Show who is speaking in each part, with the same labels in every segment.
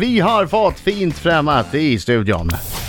Speaker 1: Vi har fått fint främmat i studion.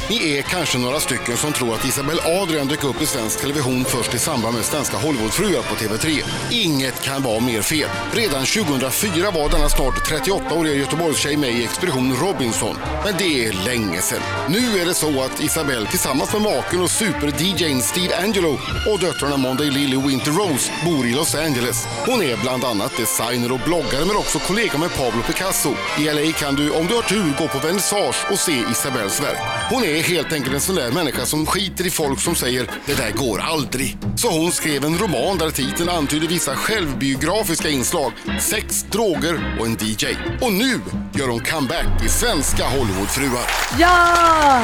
Speaker 2: Ni är kanske några stycken som tror att Isabel Adrian dök upp i svensk television först i samband med Svenska Hollywoodfruar på TV3. Inget kan vara mer fel. Redan 2004 var denna snart 38-åriga Göteborgstjej med i Expedition Robinson. Men det är länge sedan. Nu är det så att Isabel tillsammans med maken och super-DJn Steve Angelo och döttrarna Monday Lily och Winter Rose bor i Los Angeles. Hon är bland annat designer och bloggare men också kollega med Pablo Picasso. I LA kan du, om du har tur, gå på vernissage och se Isabels verk. Hon är helt enkelt en sån där människa som skiter i folk som säger “det där går aldrig”. Så hon skrev en roman där titeln antyder vissa självbiografiska inslag, sex, droger och en DJ. Och nu gör hon comeback i Svenska Hollywoodfruar.
Speaker 3: Ja!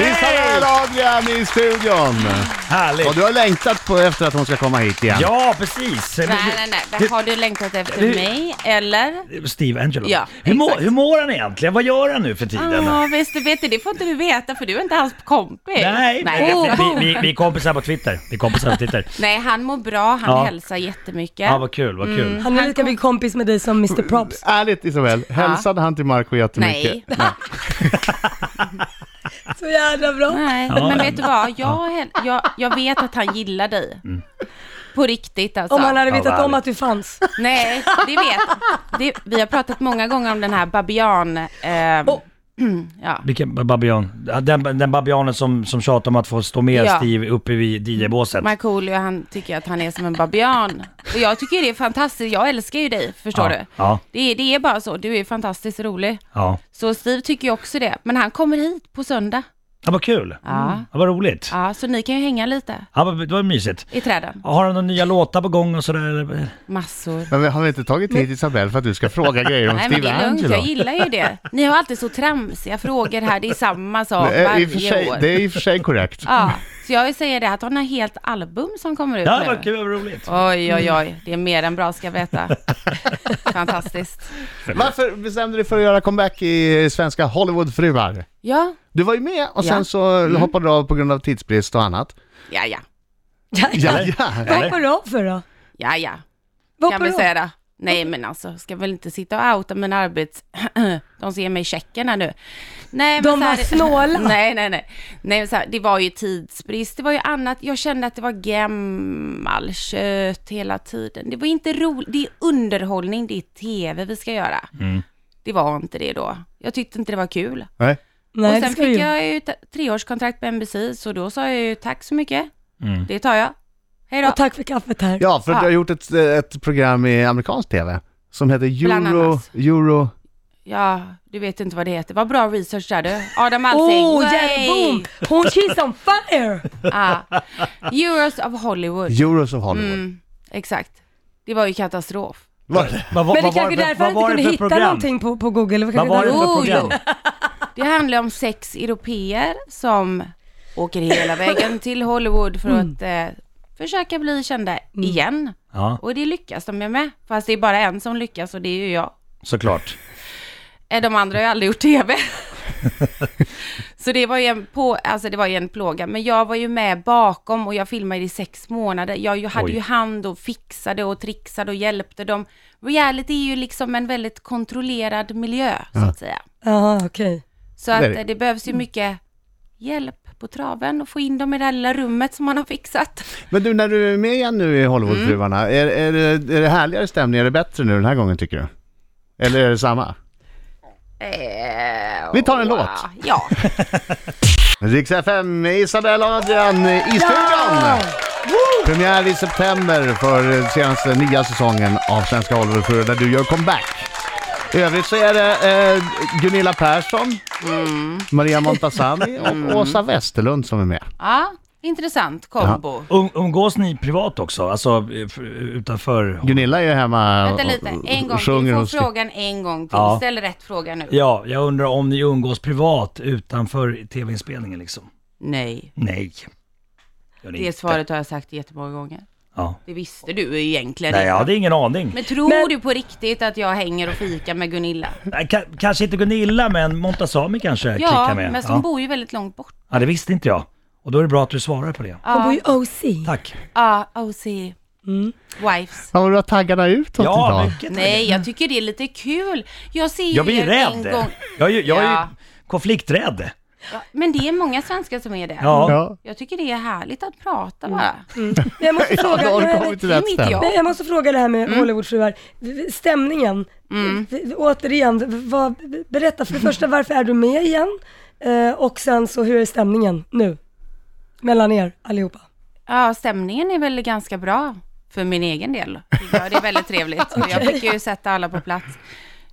Speaker 1: Isabel Adrian i studion. Och
Speaker 4: Härligt!
Speaker 1: du har längtat på efter att hon ska komma hit igen.
Speaker 4: Ja, precis! Men-
Speaker 3: Nej, nej, nej. Vad Har du längtat efter
Speaker 4: Det-
Speaker 3: mig, eller?
Speaker 4: Steve Angelo.
Speaker 3: Ja,
Speaker 4: hur, mår,
Speaker 3: exakt.
Speaker 4: hur mår han egentligen? Vad gör han nu för tiden?
Speaker 5: Ah,
Speaker 3: Ja, visst, du vet det. Det får inte du veta, för du är inte hans kompis.
Speaker 4: Nej, Oh.
Speaker 3: nej.
Speaker 4: Vi, vi, vi, vi är kompisar på Twitter. Vi är kompisar på Twitter.
Speaker 3: Nej, han mår bra. Han
Speaker 4: Ja.
Speaker 3: hälsar jättemycket.
Speaker 4: Ja, vad kul, vad kul.
Speaker 5: Han är lika mycket kompis med dig som Mr
Speaker 4: Mm.
Speaker 5: Props.
Speaker 1: Ärligt Isabel, hälsade han till Marco jättemycket?
Speaker 3: Nej.
Speaker 5: Så jävla bra.
Speaker 3: Nej,
Speaker 4: Ja. Mm.
Speaker 3: men vet du vad? Jag, häl- jag, jag vet att han gillar dig. På riktigt alltså.
Speaker 5: Om han hade
Speaker 4: Ja, vad
Speaker 5: vetat om
Speaker 4: härligt.
Speaker 5: att du fanns.
Speaker 3: Nej, det vet det, Vi har pratat många gånger om den här babian... ehm,
Speaker 5: Oh.
Speaker 3: ja.
Speaker 4: Vilken babian? Ja, Den, den babianen som, som tjatar om att få stå med
Speaker 3: Ja.
Speaker 4: Steve uppe vid DJ-båset.
Speaker 3: Markoolio han tycker att han är som en babian. Och jag tycker det är fantastiskt, jag älskar ju dig, förstår
Speaker 4: Ja,
Speaker 3: du?
Speaker 4: ja.
Speaker 3: Det, är, det är bara så, du är fantastiskt rolig.
Speaker 4: Ja.
Speaker 3: Så Steve tycker ju också det, men han kommer hit på söndag.
Speaker 4: ja, vad kul!
Speaker 3: Ja.
Speaker 4: Ja, vad roligt!
Speaker 3: Ja, så ni kan ju hänga lite
Speaker 4: Ja, vad, det var mysigt.
Speaker 3: i träden.
Speaker 4: Har han några nya låtar på gång och sådär?
Speaker 3: Massor.
Speaker 1: Men vi har vi inte tagit hit Isabel för att du ska fråga grejer om
Speaker 3: Nej men det
Speaker 1: Steve
Speaker 3: är lugnt,
Speaker 1: Angelo?
Speaker 3: jag gillar ju det. Ni har alltid så tramsiga frågor här, det är samma sak
Speaker 1: Det är i och för
Speaker 3: varje
Speaker 1: sig,
Speaker 3: år.
Speaker 1: det är i och för sig korrekt.
Speaker 3: Ja, så jag säger det att hon har helt album som kommer ut
Speaker 4: Ja,
Speaker 3: nu.
Speaker 4: vad kul, vad roligt!
Speaker 3: Oj, oj,
Speaker 1: Mm.
Speaker 3: oj, det är mer än bra ska jag veta. Fantastiskt.
Speaker 1: Varför bestämde du dig för att göra comeback i Svenska Hollywoodfruar?
Speaker 3: Ja,
Speaker 1: Du var ju med och
Speaker 3: Ja.
Speaker 1: sen så hoppade du av på grund av tidsbrist och annat.
Speaker 3: ja, ja.
Speaker 5: Ja,
Speaker 1: Ja,
Speaker 4: Eller?
Speaker 1: ja.
Speaker 5: Vad
Speaker 4: Eller?
Speaker 5: hoppar du av för då?
Speaker 3: Ja, ja,
Speaker 5: Vad
Speaker 3: kan
Speaker 5: hoppar
Speaker 3: vi
Speaker 5: du av?
Speaker 3: säga det. Nej, men alltså, ska väl inte sitta och outa min arbets... De ser mig i checken här nu. Nej, men
Speaker 5: De
Speaker 3: så här-
Speaker 5: var snåla.
Speaker 3: Nej, nej, nej. Nej, men så här, det var ju tidsbrist, det var ju annat. Jag kände att det var gammalkött hela tiden. Det var inte roligt. Det är underhållning, det är tv vi ska göra. Det var inte det då. Jag tyckte inte det var kul.
Speaker 1: Nej.
Speaker 5: Nej,
Speaker 3: och
Speaker 5: det
Speaker 3: sen
Speaker 5: ska du
Speaker 3: fick
Speaker 5: ju.
Speaker 3: jag ju ett treårskontrakt på NBC, så då sa jag ju tack så mycket.
Speaker 4: Mm.
Speaker 3: Det tar jag. Hej då.
Speaker 5: Och tack för kaffet här.
Speaker 1: Ja, för
Speaker 3: Ja.
Speaker 1: du har gjort ett, ett program i amerikansk TV som heter
Speaker 3: Bland
Speaker 1: Euro...
Speaker 3: annat.
Speaker 1: Euro...
Speaker 3: Ja, du vet inte vad det heter. Vad bra research där du. Adam Alsing.
Speaker 5: Oh,
Speaker 3: Way!
Speaker 5: yeah, boom! Hon, she's on fire!
Speaker 3: Ja. Euros Ah. of Hollywood.
Speaker 1: Euros of Hollywood.
Speaker 3: Mm, exakt. Det var ju katastrof.
Speaker 1: Var det?
Speaker 4: Vad, vad,
Speaker 5: Men det
Speaker 4: vad
Speaker 5: är
Speaker 4: var det
Speaker 5: kanske
Speaker 4: för,
Speaker 5: därför
Speaker 4: vad
Speaker 5: han
Speaker 4: var
Speaker 5: inte
Speaker 4: det
Speaker 5: kunde
Speaker 4: för
Speaker 5: hitta
Speaker 4: program?
Speaker 5: någonting på, på Google. Det
Speaker 4: Vad
Speaker 5: kanske
Speaker 4: var det
Speaker 5: därför-
Speaker 4: för
Speaker 3: Jo,
Speaker 4: program?
Speaker 3: Det handlar om sex europeer som åker hela vägen till Hollywood för att eh, försöka bli kända igen.
Speaker 4: Ja,
Speaker 3: Och det lyckas de ju med. Fast det är bara en som lyckas och det är ju jag.
Speaker 4: såklart.
Speaker 3: Eh, De andra har ju aldrig gjort TV. så det var, ju en på, alltså det var ju en plåga. Men jag var ju med bakom och jag filmade i sex månader. Jag ju- hade
Speaker 4: Oj.
Speaker 3: ju hand och fixade och trixade och hjälpte dem. Reality är ju liksom en väldigt kontrollerad miljö, så att säga.
Speaker 5: Jaha, okej.
Speaker 3: Så att
Speaker 1: Det är det. Mm.
Speaker 3: eh, det behövs ju mycket hjälp på traven och få in dem i det här lilla rummet som man har fixat.
Speaker 1: Men du, när du är med igen nu i Hollywoodfruarna,
Speaker 3: Mm.
Speaker 1: är, är, det, är det härligare stämning? Är det bättre nu den här gången tycker du? Eller är det samma?
Speaker 3: Eh,
Speaker 1: Vi tar en
Speaker 3: wow.
Speaker 1: låt.
Speaker 3: Ja.
Speaker 1: Rix FM, Isabel Adrian i studion! Premiär i september för den senaste nya säsongen av Svenska Hollywoodfruar där du gör comeback. I övrigt så är det eh, Gunilla Persson,
Speaker 3: Mm.
Speaker 1: Maria Montazami och Åsa Westerlund som är med.
Speaker 3: ja, intressant kombo.
Speaker 4: Um, umgås ni privat också? Alltså eh, f- utanför...
Speaker 1: Gunilla är ju hemma
Speaker 3: Vänta
Speaker 1: och-
Speaker 3: lite,
Speaker 1: och-
Speaker 3: en gång
Speaker 1: och
Speaker 3: till.
Speaker 1: sjunger
Speaker 3: Du får
Speaker 1: och skri-
Speaker 3: frågan en gång till.
Speaker 4: Ja.
Speaker 3: Ställ rätt fråga nu.
Speaker 4: Ja, jag undrar om ni umgås privat utanför tv-inspelningen liksom?
Speaker 3: Nej,
Speaker 4: Nej. Gör ni
Speaker 3: det
Speaker 4: inte.
Speaker 3: svaret har jag sagt jättemånga gånger.
Speaker 4: Ja.
Speaker 3: Det visste du egentligen
Speaker 4: Nej,
Speaker 3: inte.
Speaker 4: jag hade ingen aning.
Speaker 3: Men tror
Speaker 5: Men-
Speaker 3: du på riktigt att jag hänger och fikar med Gunilla?
Speaker 4: Nej, Äh, ka- kanske inte Gunilla, men Montazami kanske jag klickar
Speaker 3: Ja,
Speaker 4: med.
Speaker 3: men som
Speaker 4: ja.
Speaker 3: bor ju väldigt långt bort.
Speaker 4: ja, det visste inte jag. Och då är det bra att du svarar på det.
Speaker 3: Ah,
Speaker 5: Hon bor ju OC.
Speaker 3: oh,
Speaker 4: Tack.
Speaker 3: Ja, OC. Wives.
Speaker 1: Ja, men du har taggarna utåt
Speaker 4: Ja,
Speaker 1: idag.
Speaker 4: mycket tack.
Speaker 3: Nej, jag tycker det är lite kul. Jag ser ju
Speaker 4: Jag blir
Speaker 3: er en gång.
Speaker 4: rädd. Jag, är ju- jag är
Speaker 3: Ja.
Speaker 4: ju konflikträdd.
Speaker 3: Ja, men det är många svenskar som är det.
Speaker 4: Ja. Mm.
Speaker 1: Ja.
Speaker 3: Jag tycker det är härligt att prata bara.
Speaker 5: Men jag måste
Speaker 1: Ja,
Speaker 5: fråga,
Speaker 1: då har du
Speaker 5: nej,
Speaker 1: kommit till
Speaker 3: det är
Speaker 1: rätt
Speaker 3: mitt
Speaker 1: ställe.
Speaker 3: jobb.
Speaker 5: nej, jag måste fråga det här med
Speaker 1: Mm.
Speaker 5: Hollywoodfruar. Stämningen, V- återigen, v- vad, berätta för det första varför är du med igen? Eh, och sen så hur är stämningen nu? Mellan er allihopa.
Speaker 3: Ja, stämningen är väl ganska bra för min egen del. Ja, det är väldigt trevligt. Och Jag fick ju sätta alla på plats.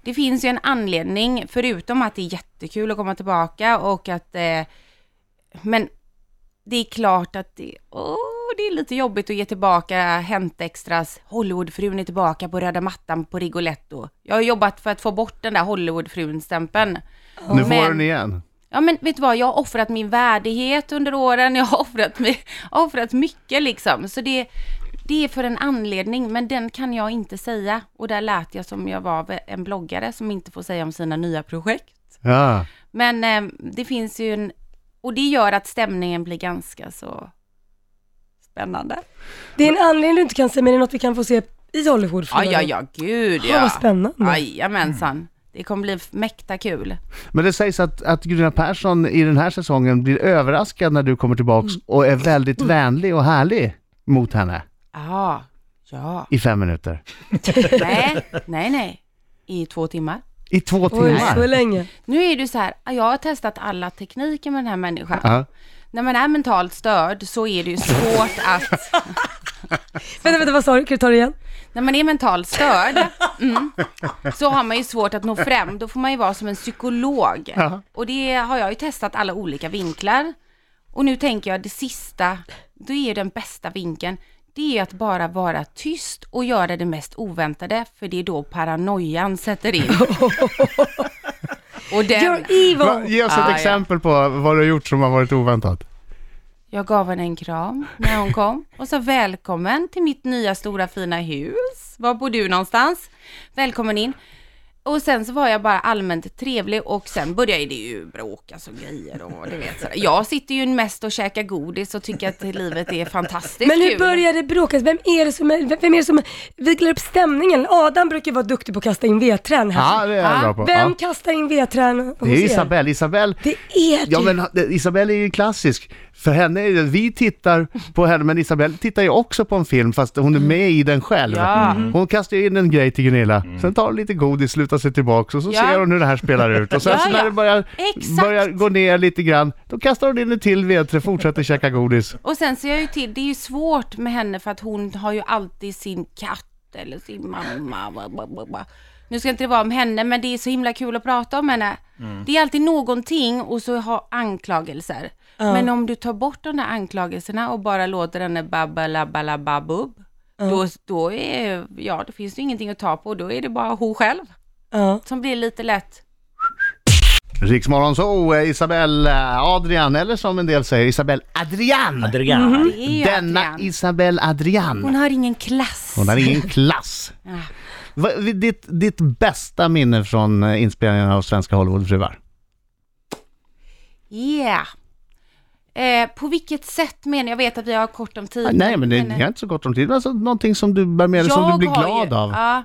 Speaker 3: Det finns ju en anledning, förutom att det är jättekul att komma tillbaka och att... Eh, men det är klart att det, åh, det är lite jobbigt att ge tillbaka Hänt Extras Hollywoodfrun är tillbaka på röda mattan på Rigoletto. Jag har jobbat för att få bort den där Hollywoodfrun-stämpeln.
Speaker 1: Nu får
Speaker 3: Men-
Speaker 1: du den igen.
Speaker 3: Ja men vet du vad, jag har offrat min värdighet under åren, jag har offrat, mig, jag har offrat mycket liksom. Så det, det är för en anledning, men den kan jag inte säga. Och där lät jag som jag var en bloggare som inte får säga om sina nya projekt.
Speaker 1: Ja.
Speaker 3: Men eh, det finns ju en, och det gör att stämningen blir ganska så spännande.
Speaker 5: Det är en anledning du inte kan säga, men det är något vi kan få se i Hollywoodfruar.
Speaker 3: Ja, ja, ja, gud
Speaker 5: Ja,
Speaker 3: ja.
Speaker 5: vad spännande.
Speaker 3: Jajamensan. Det kommer bli mäkta kul.
Speaker 1: Men det sägs att, att Gunilla Persson i den här säsongen blir överraskad när du kommer tillbaks
Speaker 5: Mm.
Speaker 1: och är väldigt vänlig och härlig mot henne
Speaker 3: Ah, ja.
Speaker 1: i fem minuter.
Speaker 3: Nej, nej, nej. I två timmar.
Speaker 1: I två
Speaker 5: Oj, så
Speaker 1: timmar.
Speaker 5: länge.
Speaker 3: Nu är du så här, jag har testat alla tekniker med den här människan.
Speaker 1: Ja.
Speaker 3: När man är mentalt störd så är det ju svårt att...
Speaker 5: Vänta, vänta, vad sa du? Kan du ta det igen?
Speaker 3: När man är mentalt störd mm, så har man ju svårt att nå fram. Då får man ju vara som en psykolog.
Speaker 1: Ja.
Speaker 3: Och det har jag ju testat alla olika vinklar. Och nu tänker jag det sista, det är ju den bästa vinkeln. Det är att bara vara tyst och göra det mest oväntade, för det är då paranoian sätter in. och den...
Speaker 5: You're evil!
Speaker 1: Va, ge oss ett
Speaker 3: Ah, ja.
Speaker 1: exempel på vad du har gjort som har varit oväntat.
Speaker 3: Jag gav henne en kram när hon kom och sa välkommen till mitt nya stora fina hus. Var bor du någonstans? Välkommen in. Och sen så var jag bara allmänt trevlig och sen började det ju bråkas och grejer och du vet sådär. Jag sitter ju mest och käkar godis och tycker att livet är fantastiskt
Speaker 5: Men hur
Speaker 3: kul.
Speaker 5: börjar det bråkas? Vem är det som, är- vem är det som viklar upp stämningen? Adam brukar vara duktig på att kasta in vedträn här.
Speaker 1: Ja, det är jag
Speaker 3: Ah,
Speaker 1: bra på.
Speaker 5: Alltså, Vem
Speaker 1: Ja.
Speaker 5: kastar in vedträn hos
Speaker 1: Det är ju
Speaker 5: er?
Speaker 1: Isabelle. Isabelle
Speaker 5: Det är typ- du!
Speaker 1: Ja
Speaker 3: Typ.
Speaker 1: men det- Isabelle är ju klassisk. För henne är det, vi tittar på henne, men Isabelle tittar ju också på en film fast hon är med i den själv.
Speaker 3: Mm.
Speaker 1: Mm.
Speaker 3: Ja. Mm.
Speaker 1: Hon kastar ju in en grej till Gunilla, sen tar hon lite godis, slutar sig tillbaks och så
Speaker 3: Ja.
Speaker 1: ser hon hur det här spelar ut. Och sen
Speaker 3: Ja,
Speaker 1: så när
Speaker 3: ja.
Speaker 1: det börjar,
Speaker 3: Exakt.
Speaker 1: börjar gå ner lite grann, då kastar hon in en till vedträ, fortsätter käka godis.
Speaker 3: Och sen ser jag ju till, det är ju svårt med henne för att hon har ju alltid sin katt eller sin mamma. Bla, bla, bla, bla. Nu ska inte det vara om henne, men det är så himla kul att prata om henne.
Speaker 1: Mm.
Speaker 3: Det är alltid någonting och så har anklagelser. Men om du tar bort de där anklagelserna och bara låter henne babbalabalababub, då, då, är, ja, då finns det ingenting att ta på och då är det bara hon själv
Speaker 5: Ja.
Speaker 3: som blir lite lätt
Speaker 1: Riksmorgon så, eh, Isabelle Adrian, eller som en del säger, Isabelle Adrian!
Speaker 4: Adrian.
Speaker 3: det är ju
Speaker 1: Denna
Speaker 3: Adrian.
Speaker 1: Isabelle Adrian!
Speaker 3: Hon har ingen klass.
Speaker 1: Hon har ingen klass.
Speaker 3: Ja.
Speaker 1: Va, ditt, ditt bästa minne från eh, inspelningen av Svenska Hollywoodfruar?
Speaker 3: Yeah. Eh, på vilket sätt menar jag? Jag vet att vi har kort om tid.
Speaker 1: Nej, men det jag har inte så gott om tid. Men alltså, någonting som du bär med dig, som du
Speaker 3: jag
Speaker 1: blir
Speaker 3: har
Speaker 1: glad
Speaker 3: ju,
Speaker 1: av.
Speaker 3: Ja,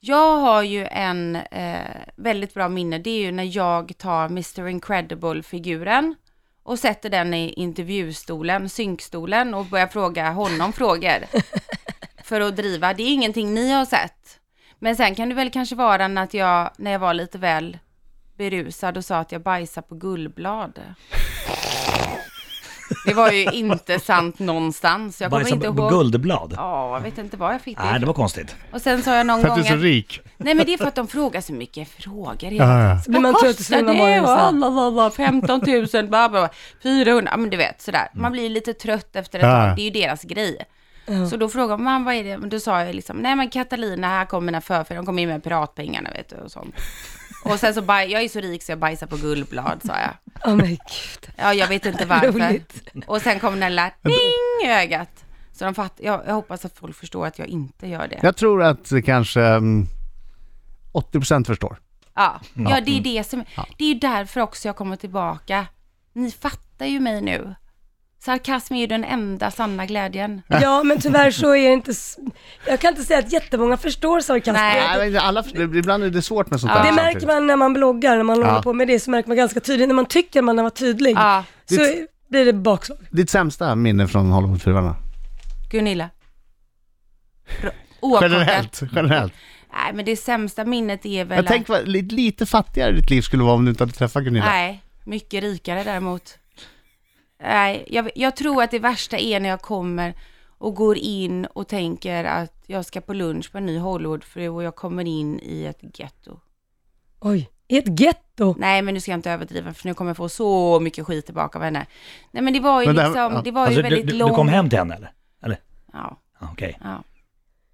Speaker 3: jag har ju en eh, väldigt bra minne. Det är ju när jag tar Mr Incredible-figuren och sätter den i intervjustolen, synkstolen och börjar fråga honom frågor. för att driva. Det är ingenting ni har sett. Men sen kan det väl kanske vara när att jag, när jag var lite väl berusad och sa att jag bajsade på gullblad. Det var ju inte sant någonstans. Jag kommer
Speaker 4: Bajsa
Speaker 3: inte
Speaker 4: på på
Speaker 3: ihåg.
Speaker 4: guldblad.
Speaker 3: Ja, jag vet inte var jag fick det
Speaker 4: Nej, det
Speaker 3: ifrån.
Speaker 4: var konstigt.
Speaker 3: Och sen sa jag någon
Speaker 1: För
Speaker 3: gång
Speaker 1: att du är så
Speaker 3: att...
Speaker 1: rik.
Speaker 3: Nej men det är för att de frågar så mycket frågor hela
Speaker 1: Ja, ja.
Speaker 3: tiden.
Speaker 5: Så blir man
Speaker 3: Vad
Speaker 5: trött och
Speaker 3: kostar
Speaker 5: så vill man
Speaker 3: det?
Speaker 5: bara-
Speaker 3: Och la, la, la, 15 000, bla, bla, bla, 400, ja men du vet sådär. Man blir lite trött efter ett
Speaker 1: Ja, Mm. ja.
Speaker 3: tag, det är ju deras grej. Så då frågar man, vad är det? Men då sa jag liksom, nej men Catalina, här kommer mina förfäder, de kom in med piratpengarna vet du och sånt. Och sen så baj, jag är så rik så jag bajsar på guldblad sa jag.
Speaker 5: Åh, men gud.
Speaker 3: Ja, jag vet inte varför.
Speaker 5: Roligt.
Speaker 3: Och sen kom den där ding i ögat. Så de fatt, jag, jag hoppas att folk förstår att jag inte gör det.
Speaker 1: Jag tror att eh, kanske mm, 80% förstår.
Speaker 3: Ja,
Speaker 1: Mm.
Speaker 3: ja det är det som... Det är ju därför också jag kommer tillbaka. Ni fattar ju mig nu. Sarkasm är ju den enda sanna glädjen.
Speaker 5: Ja, men tyvärr så är det inte... s- Jag kan inte säga att jättemånga förstår sarkasm.
Speaker 3: Nej.
Speaker 1: Nej, men alla, ibland är det svårt med sånt där.
Speaker 5: Det
Speaker 1: samtidigt.
Speaker 5: märker man när man bloggar, när man
Speaker 1: Ja.
Speaker 5: håller på med det, så märker man ganska tydligt, när man tycker man har varit tydlig,
Speaker 3: Ja.
Speaker 5: så blir det bakslag.
Speaker 1: Ditt sämsta minne från Hollywoodfruarna?
Speaker 3: Gunilla. Bra. Oavkortat.
Speaker 1: Generellt, generellt.
Speaker 3: Nej, men det sämsta minnet är väl
Speaker 1: Jag tänk vad li- lite fattigare ditt liv skulle vara om du inte hade träffat Gunilla.
Speaker 3: Nej, mycket rikare däremot. Nej, jag, jag tror att det värsta är när jag kommer och går in och tänker att jag ska på lunch med en ny Hollywoodfru och jag kommer in i ett getto.
Speaker 5: Oj, i ett getto.
Speaker 3: Nej, men nu ska jag inte överdriva för nu kommer jag få så mycket skit tillbaka av henne. Nej, men det var ju
Speaker 1: Men det här- ja.
Speaker 3: liksom, det var
Speaker 4: Alltså,
Speaker 3: ju
Speaker 4: du, du,
Speaker 3: väldigt
Speaker 4: du
Speaker 3: långt.
Speaker 4: kom hem till henne eller?
Speaker 3: Ja,
Speaker 4: Ja, Ah, Okej.
Speaker 3: ja,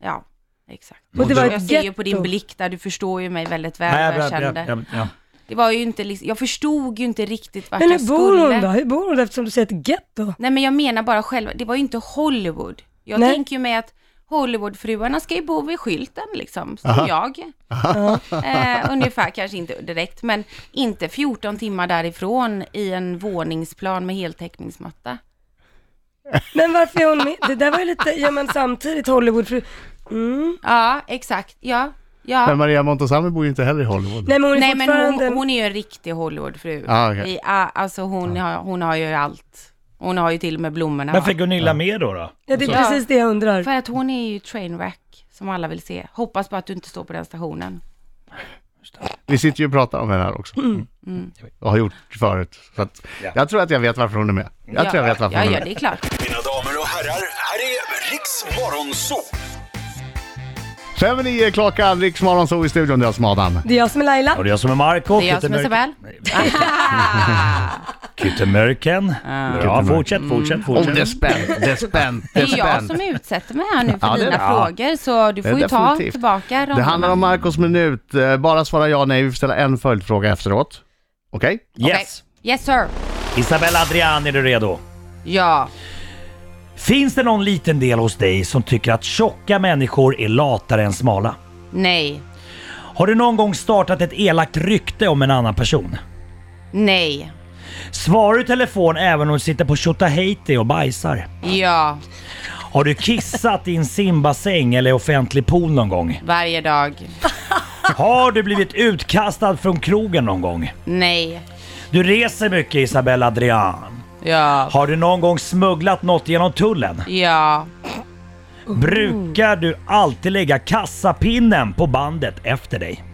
Speaker 3: ja, exakt.
Speaker 5: Och det var
Speaker 3: jag
Speaker 5: ett
Speaker 3: ser ju på din
Speaker 5: getto.
Speaker 3: blick där, du förstår ju mig väldigt väl
Speaker 4: Nej,
Speaker 3: vad jag
Speaker 4: jag- jag-
Speaker 3: kände.
Speaker 4: jag- ja.
Speaker 3: Det var ju inte, liksom- jag förstod ju inte riktigt vart
Speaker 5: Men
Speaker 3: jag
Speaker 5: hur
Speaker 3: skulle.
Speaker 5: bor hon då? Hur bor hon då eftersom du säger ett getto?
Speaker 3: Nej men jag menar bara själv, det var ju inte Hollywood. Jag
Speaker 5: Nej.
Speaker 3: tänker ju mig att Hollywoodfruarna ska ju bo vid skylten liksom, som jag. Eh, ungefär, kanske inte direkt, men inte 14 timmar därifrån i en våningsplan med heltäckningsmatta.
Speaker 5: Men varför är hon med? Det där var ju lite, ja men samtidigt Hollywoodfru. Mm.
Speaker 3: Ja, exakt, ja.
Speaker 1: Men
Speaker 3: ja.
Speaker 1: Maria Montazami bor ju inte heller i Hollywood.
Speaker 5: Nej men hon är
Speaker 3: Nej men
Speaker 5: fortfarande...
Speaker 3: hon, hon är ju en riktig Hollywoodfru.
Speaker 1: Ja, okej.
Speaker 3: I- ah, alltså hon, har, hon har ju allt. Hon har ju till och med blommorna.
Speaker 4: Men fick Gunilla med då? då?
Speaker 5: Ja det är
Speaker 3: Ja.
Speaker 5: precis det jag undrar.
Speaker 3: För att hon är ju trainwreck, som alla vill se. Hoppas bara att du inte står på den stationen.
Speaker 1: Vi sitter ju och pratar om henne här också.
Speaker 3: Mm.
Speaker 1: Och har gjort förut. Så att
Speaker 4: Ja.
Speaker 1: Jag tror att jag vet varför hon är med. Jag tror jag vet varför
Speaker 3: Ja,
Speaker 1: hon är
Speaker 3: ja,
Speaker 1: med.
Speaker 3: det är klart.
Speaker 6: Mina damer och herrar, här är Riks Morgonzoo!
Speaker 1: Fem och nio klockan, Riks Morgonzoo i studion, det är jag som är Adam.
Speaker 5: Det är jag som är Laila.
Speaker 4: Och det är jag som är Marco.
Speaker 3: Det är jag som är Isabel.
Speaker 4: Kyttemörken. Ja, fortsätt,
Speaker 3: Mm.
Speaker 4: fortsätt,
Speaker 1: Om
Speaker 4: fortsätt.
Speaker 1: det är spänt, det är spänt, det
Speaker 3: Det
Speaker 1: är
Speaker 3: är jag
Speaker 1: spänt.
Speaker 3: som utsätter mig här nu för
Speaker 1: Ja, det är
Speaker 3: dina
Speaker 1: det. Ja.
Speaker 3: frågor, så du
Speaker 1: Det är
Speaker 3: får ju ta
Speaker 1: definitivt.
Speaker 3: tillbaka
Speaker 1: Det handlar om Marcos minut. Eh, Bara svara ja nej, vi får ställa en följdfråga efteråt. Okej?
Speaker 4: Yes.
Speaker 3: Okej. Yes sir.
Speaker 4: Isabella Adrian, är du redo?
Speaker 3: Ja.
Speaker 4: Finns det någon liten del hos dig som tycker att tjocka människor är latare än smala?
Speaker 3: Nej.
Speaker 4: Har du någon gång startat ett elakt rykte om en annan person?
Speaker 3: Nej.
Speaker 4: Svarar du i telefon även om du sitter på Tjotahejti och bajsar?
Speaker 3: Ja.
Speaker 4: Har du kissat i en simbassäng eller offentlig pool någon gång?
Speaker 3: Varje dag.
Speaker 4: Har du blivit utkastad från krogen någon gång?
Speaker 3: Nej.
Speaker 4: Du reser mycket Isabella Adrian.
Speaker 3: Ja.
Speaker 4: Har du någon gång smugglat något genom tullen?
Speaker 3: Ja.
Speaker 5: Oh.
Speaker 4: Brukar du alltid lägga kassapinnen på bandet efter dig?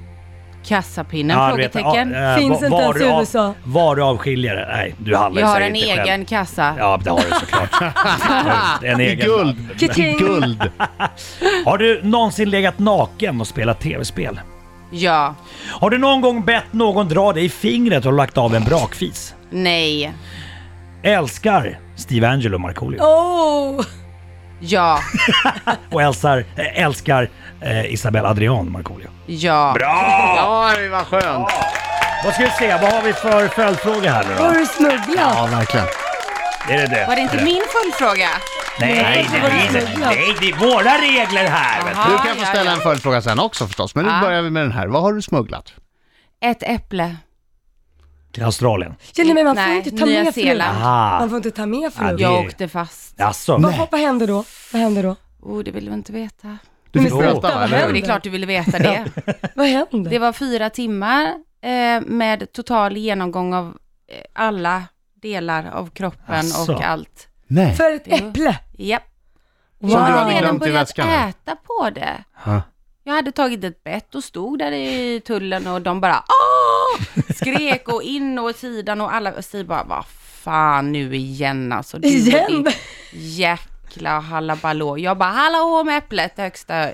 Speaker 3: Kassapinnen?
Speaker 4: Ja, du vet,
Speaker 3: frågetecken.
Speaker 4: ja, eh,
Speaker 5: Finns
Speaker 4: va-
Speaker 5: inte ens i
Speaker 4: varuav-
Speaker 5: USA.
Speaker 4: Varuavskiljare? Nej, du handlar
Speaker 3: jag
Speaker 4: i
Speaker 3: har
Speaker 4: sig
Speaker 3: en
Speaker 4: inte
Speaker 3: egen
Speaker 4: själv.
Speaker 3: kassa.
Speaker 4: Ja, det har du såklart. en
Speaker 1: I
Speaker 4: egen.
Speaker 1: guld! I
Speaker 5: Ka-ching.
Speaker 1: guld!
Speaker 4: Har du någonsin legat naken och spelat tv-spel?
Speaker 3: Ja.
Speaker 4: Har du någon gång bett någon dra dig i fingret och lagt av en brakfis?
Speaker 3: Nej.
Speaker 4: Älskar Steve Angelo Markoolio.
Speaker 5: Oh!
Speaker 3: Ja.
Speaker 4: Och älskar, eh, älskar eh, Isabel Adrian Markoolio.
Speaker 3: Ja.
Speaker 1: Ja, det var skönt!
Speaker 4: Vad ska vi se, vad har vi för följdfråga här nu
Speaker 5: Har
Speaker 4: då?
Speaker 5: du smugglat?
Speaker 1: Ja, verkligen.
Speaker 4: Är det det?
Speaker 3: Var det inte min följdfråga?
Speaker 4: Nej, nej, nej, nej, nej, nej, det är våra regler här! Vet du.
Speaker 3: Aha,
Speaker 1: Du kan få
Speaker 3: ja,
Speaker 1: ställa
Speaker 3: ja.
Speaker 1: en följdfråga sen också förstås, men nu
Speaker 3: Ja.
Speaker 1: börjar vi med den här. Vad har du smugglat?
Speaker 3: Ett äpple.
Speaker 4: Till Australien.
Speaker 5: Känner mig, man får
Speaker 3: Nej,
Speaker 5: inte ta
Speaker 3: Nya
Speaker 5: med fru.
Speaker 3: Zeeland.
Speaker 5: Man
Speaker 4: Ah,
Speaker 5: får inte ta med fru.
Speaker 4: Ja, det-
Speaker 3: Jag åkte fast.
Speaker 4: alltså.
Speaker 5: Vad- vad, vad händer då? Vad händer då?
Speaker 3: Oh, det vill du inte veta.
Speaker 1: Du
Speaker 5: Men
Speaker 1: fick
Speaker 3: Mm.
Speaker 4: snälla,
Speaker 1: berätta va?
Speaker 5: vad
Speaker 1: Eller
Speaker 3: Jo,
Speaker 1: hur?
Speaker 3: det är klart du ville veta det.
Speaker 5: Vad händer?
Speaker 3: Det var fyra timmar eh, med total genomgång av eh, alla delar av kroppen
Speaker 4: Asså.
Speaker 3: och allt.
Speaker 1: Nej.
Speaker 5: För ett äpple?
Speaker 3: Japp.
Speaker 5: Wow.
Speaker 1: du
Speaker 3: Jag
Speaker 1: hade
Speaker 3: hade redan
Speaker 1: glömt i
Speaker 3: börjat
Speaker 1: väskan, eller?
Speaker 3: äta på det.
Speaker 1: Ja.
Speaker 3: Jag hade tagit ett bett och stod där i tullen och de bara Åh! skrek och in och sidan och alla, och Stig bara vad fan nu igen alltså. Du och
Speaker 5: Igen?
Speaker 3: din Jäkla halabaloo. Jag bara hallå med äpplet högsta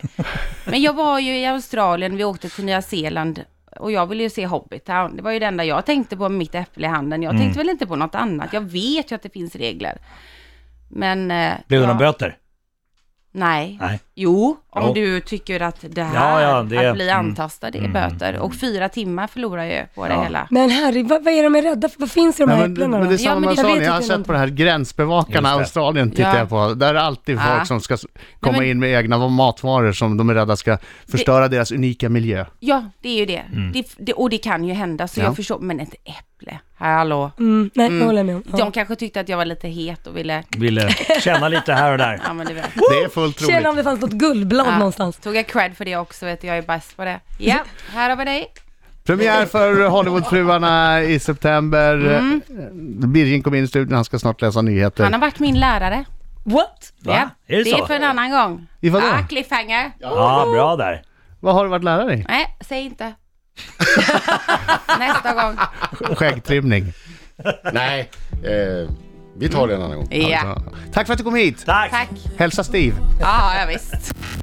Speaker 3: Men jag var ju i Australien, vi åkte till Nya Zeeland och jag ville ju se Hobbitown. Det var ju det enda jag tänkte på med mitt äpple i handen. Jag tänkte väl inte på något annat. Jag vet ju att det finns regler. Men... eh,
Speaker 4: Blev det
Speaker 3: jag-
Speaker 4: några böter?
Speaker 3: Nej.
Speaker 4: Nej.
Speaker 3: Jo, om
Speaker 4: Ja.
Speaker 3: du tycker att det
Speaker 4: Ja,
Speaker 3: här,
Speaker 4: ja, det-
Speaker 3: att bli
Speaker 4: mm.
Speaker 3: antastad, det är böter. Och fyra timmar förlorar ju på det hela.
Speaker 5: Men Harry, vad, vad är de är rädda för? Vad finns i de
Speaker 1: Nej,
Speaker 5: här
Speaker 1: men,
Speaker 5: äpplena
Speaker 1: men det är
Speaker 5: då?
Speaker 1: samma
Speaker 3: men
Speaker 1: man
Speaker 3: jag
Speaker 1: sa,
Speaker 5: vet
Speaker 1: jag har
Speaker 5: inte
Speaker 1: sett på det här
Speaker 4: Just
Speaker 1: gränsbevakarna
Speaker 4: det.
Speaker 1: Australien tittar
Speaker 3: Ja.
Speaker 1: jag på. Där är alltid folk
Speaker 3: Ah.
Speaker 1: som ska s- komma
Speaker 3: men-
Speaker 1: in med egna matvaror som de är rädda ska förstöra deras unika miljö.
Speaker 3: Ja, det är ju det.
Speaker 4: Mm.
Speaker 3: det, det och det kan ju hända, så
Speaker 1: Ja.
Speaker 3: jag förstår. Men ett äpple, hallå.
Speaker 5: Mm, nej, det håller jag med om. Ja.
Speaker 3: De kanske tyckte att jag var lite het och ville...
Speaker 4: Ville känna lite här och där.
Speaker 3: Ja, men du vet.
Speaker 1: Det är fullt troligt.
Speaker 5: Känner om det fanns något guldblad
Speaker 3: Ja,
Speaker 5: någonstans.
Speaker 3: Tog jag cred för det också, vet du, jag är bäst på det. Ja, här har vi dig.
Speaker 1: Premiär för Hollywoodfruarna i september. Birgin kom in i studion, han ska snart läsa nyheter.
Speaker 3: Han har varit min lärare.
Speaker 5: What?
Speaker 4: Va?
Speaker 3: Ja,
Speaker 4: Är det
Speaker 3: det
Speaker 4: så?
Speaker 3: är för en annan gång.
Speaker 1: I vadå?
Speaker 3: Ja, cliffhanger.
Speaker 4: Ja, bra där.
Speaker 1: Vad har du varit lärare i?
Speaker 3: Nej, säg inte. Nästa gång.
Speaker 1: Skäggtrimning.
Speaker 2: Nej, eh, vi tar det en annan gång.
Speaker 3: Ja,
Speaker 1: Ja. Tack för att du kom hit.
Speaker 4: Tack!
Speaker 3: tack.
Speaker 1: Hälsa Steve.
Speaker 3: Ja, ja visst.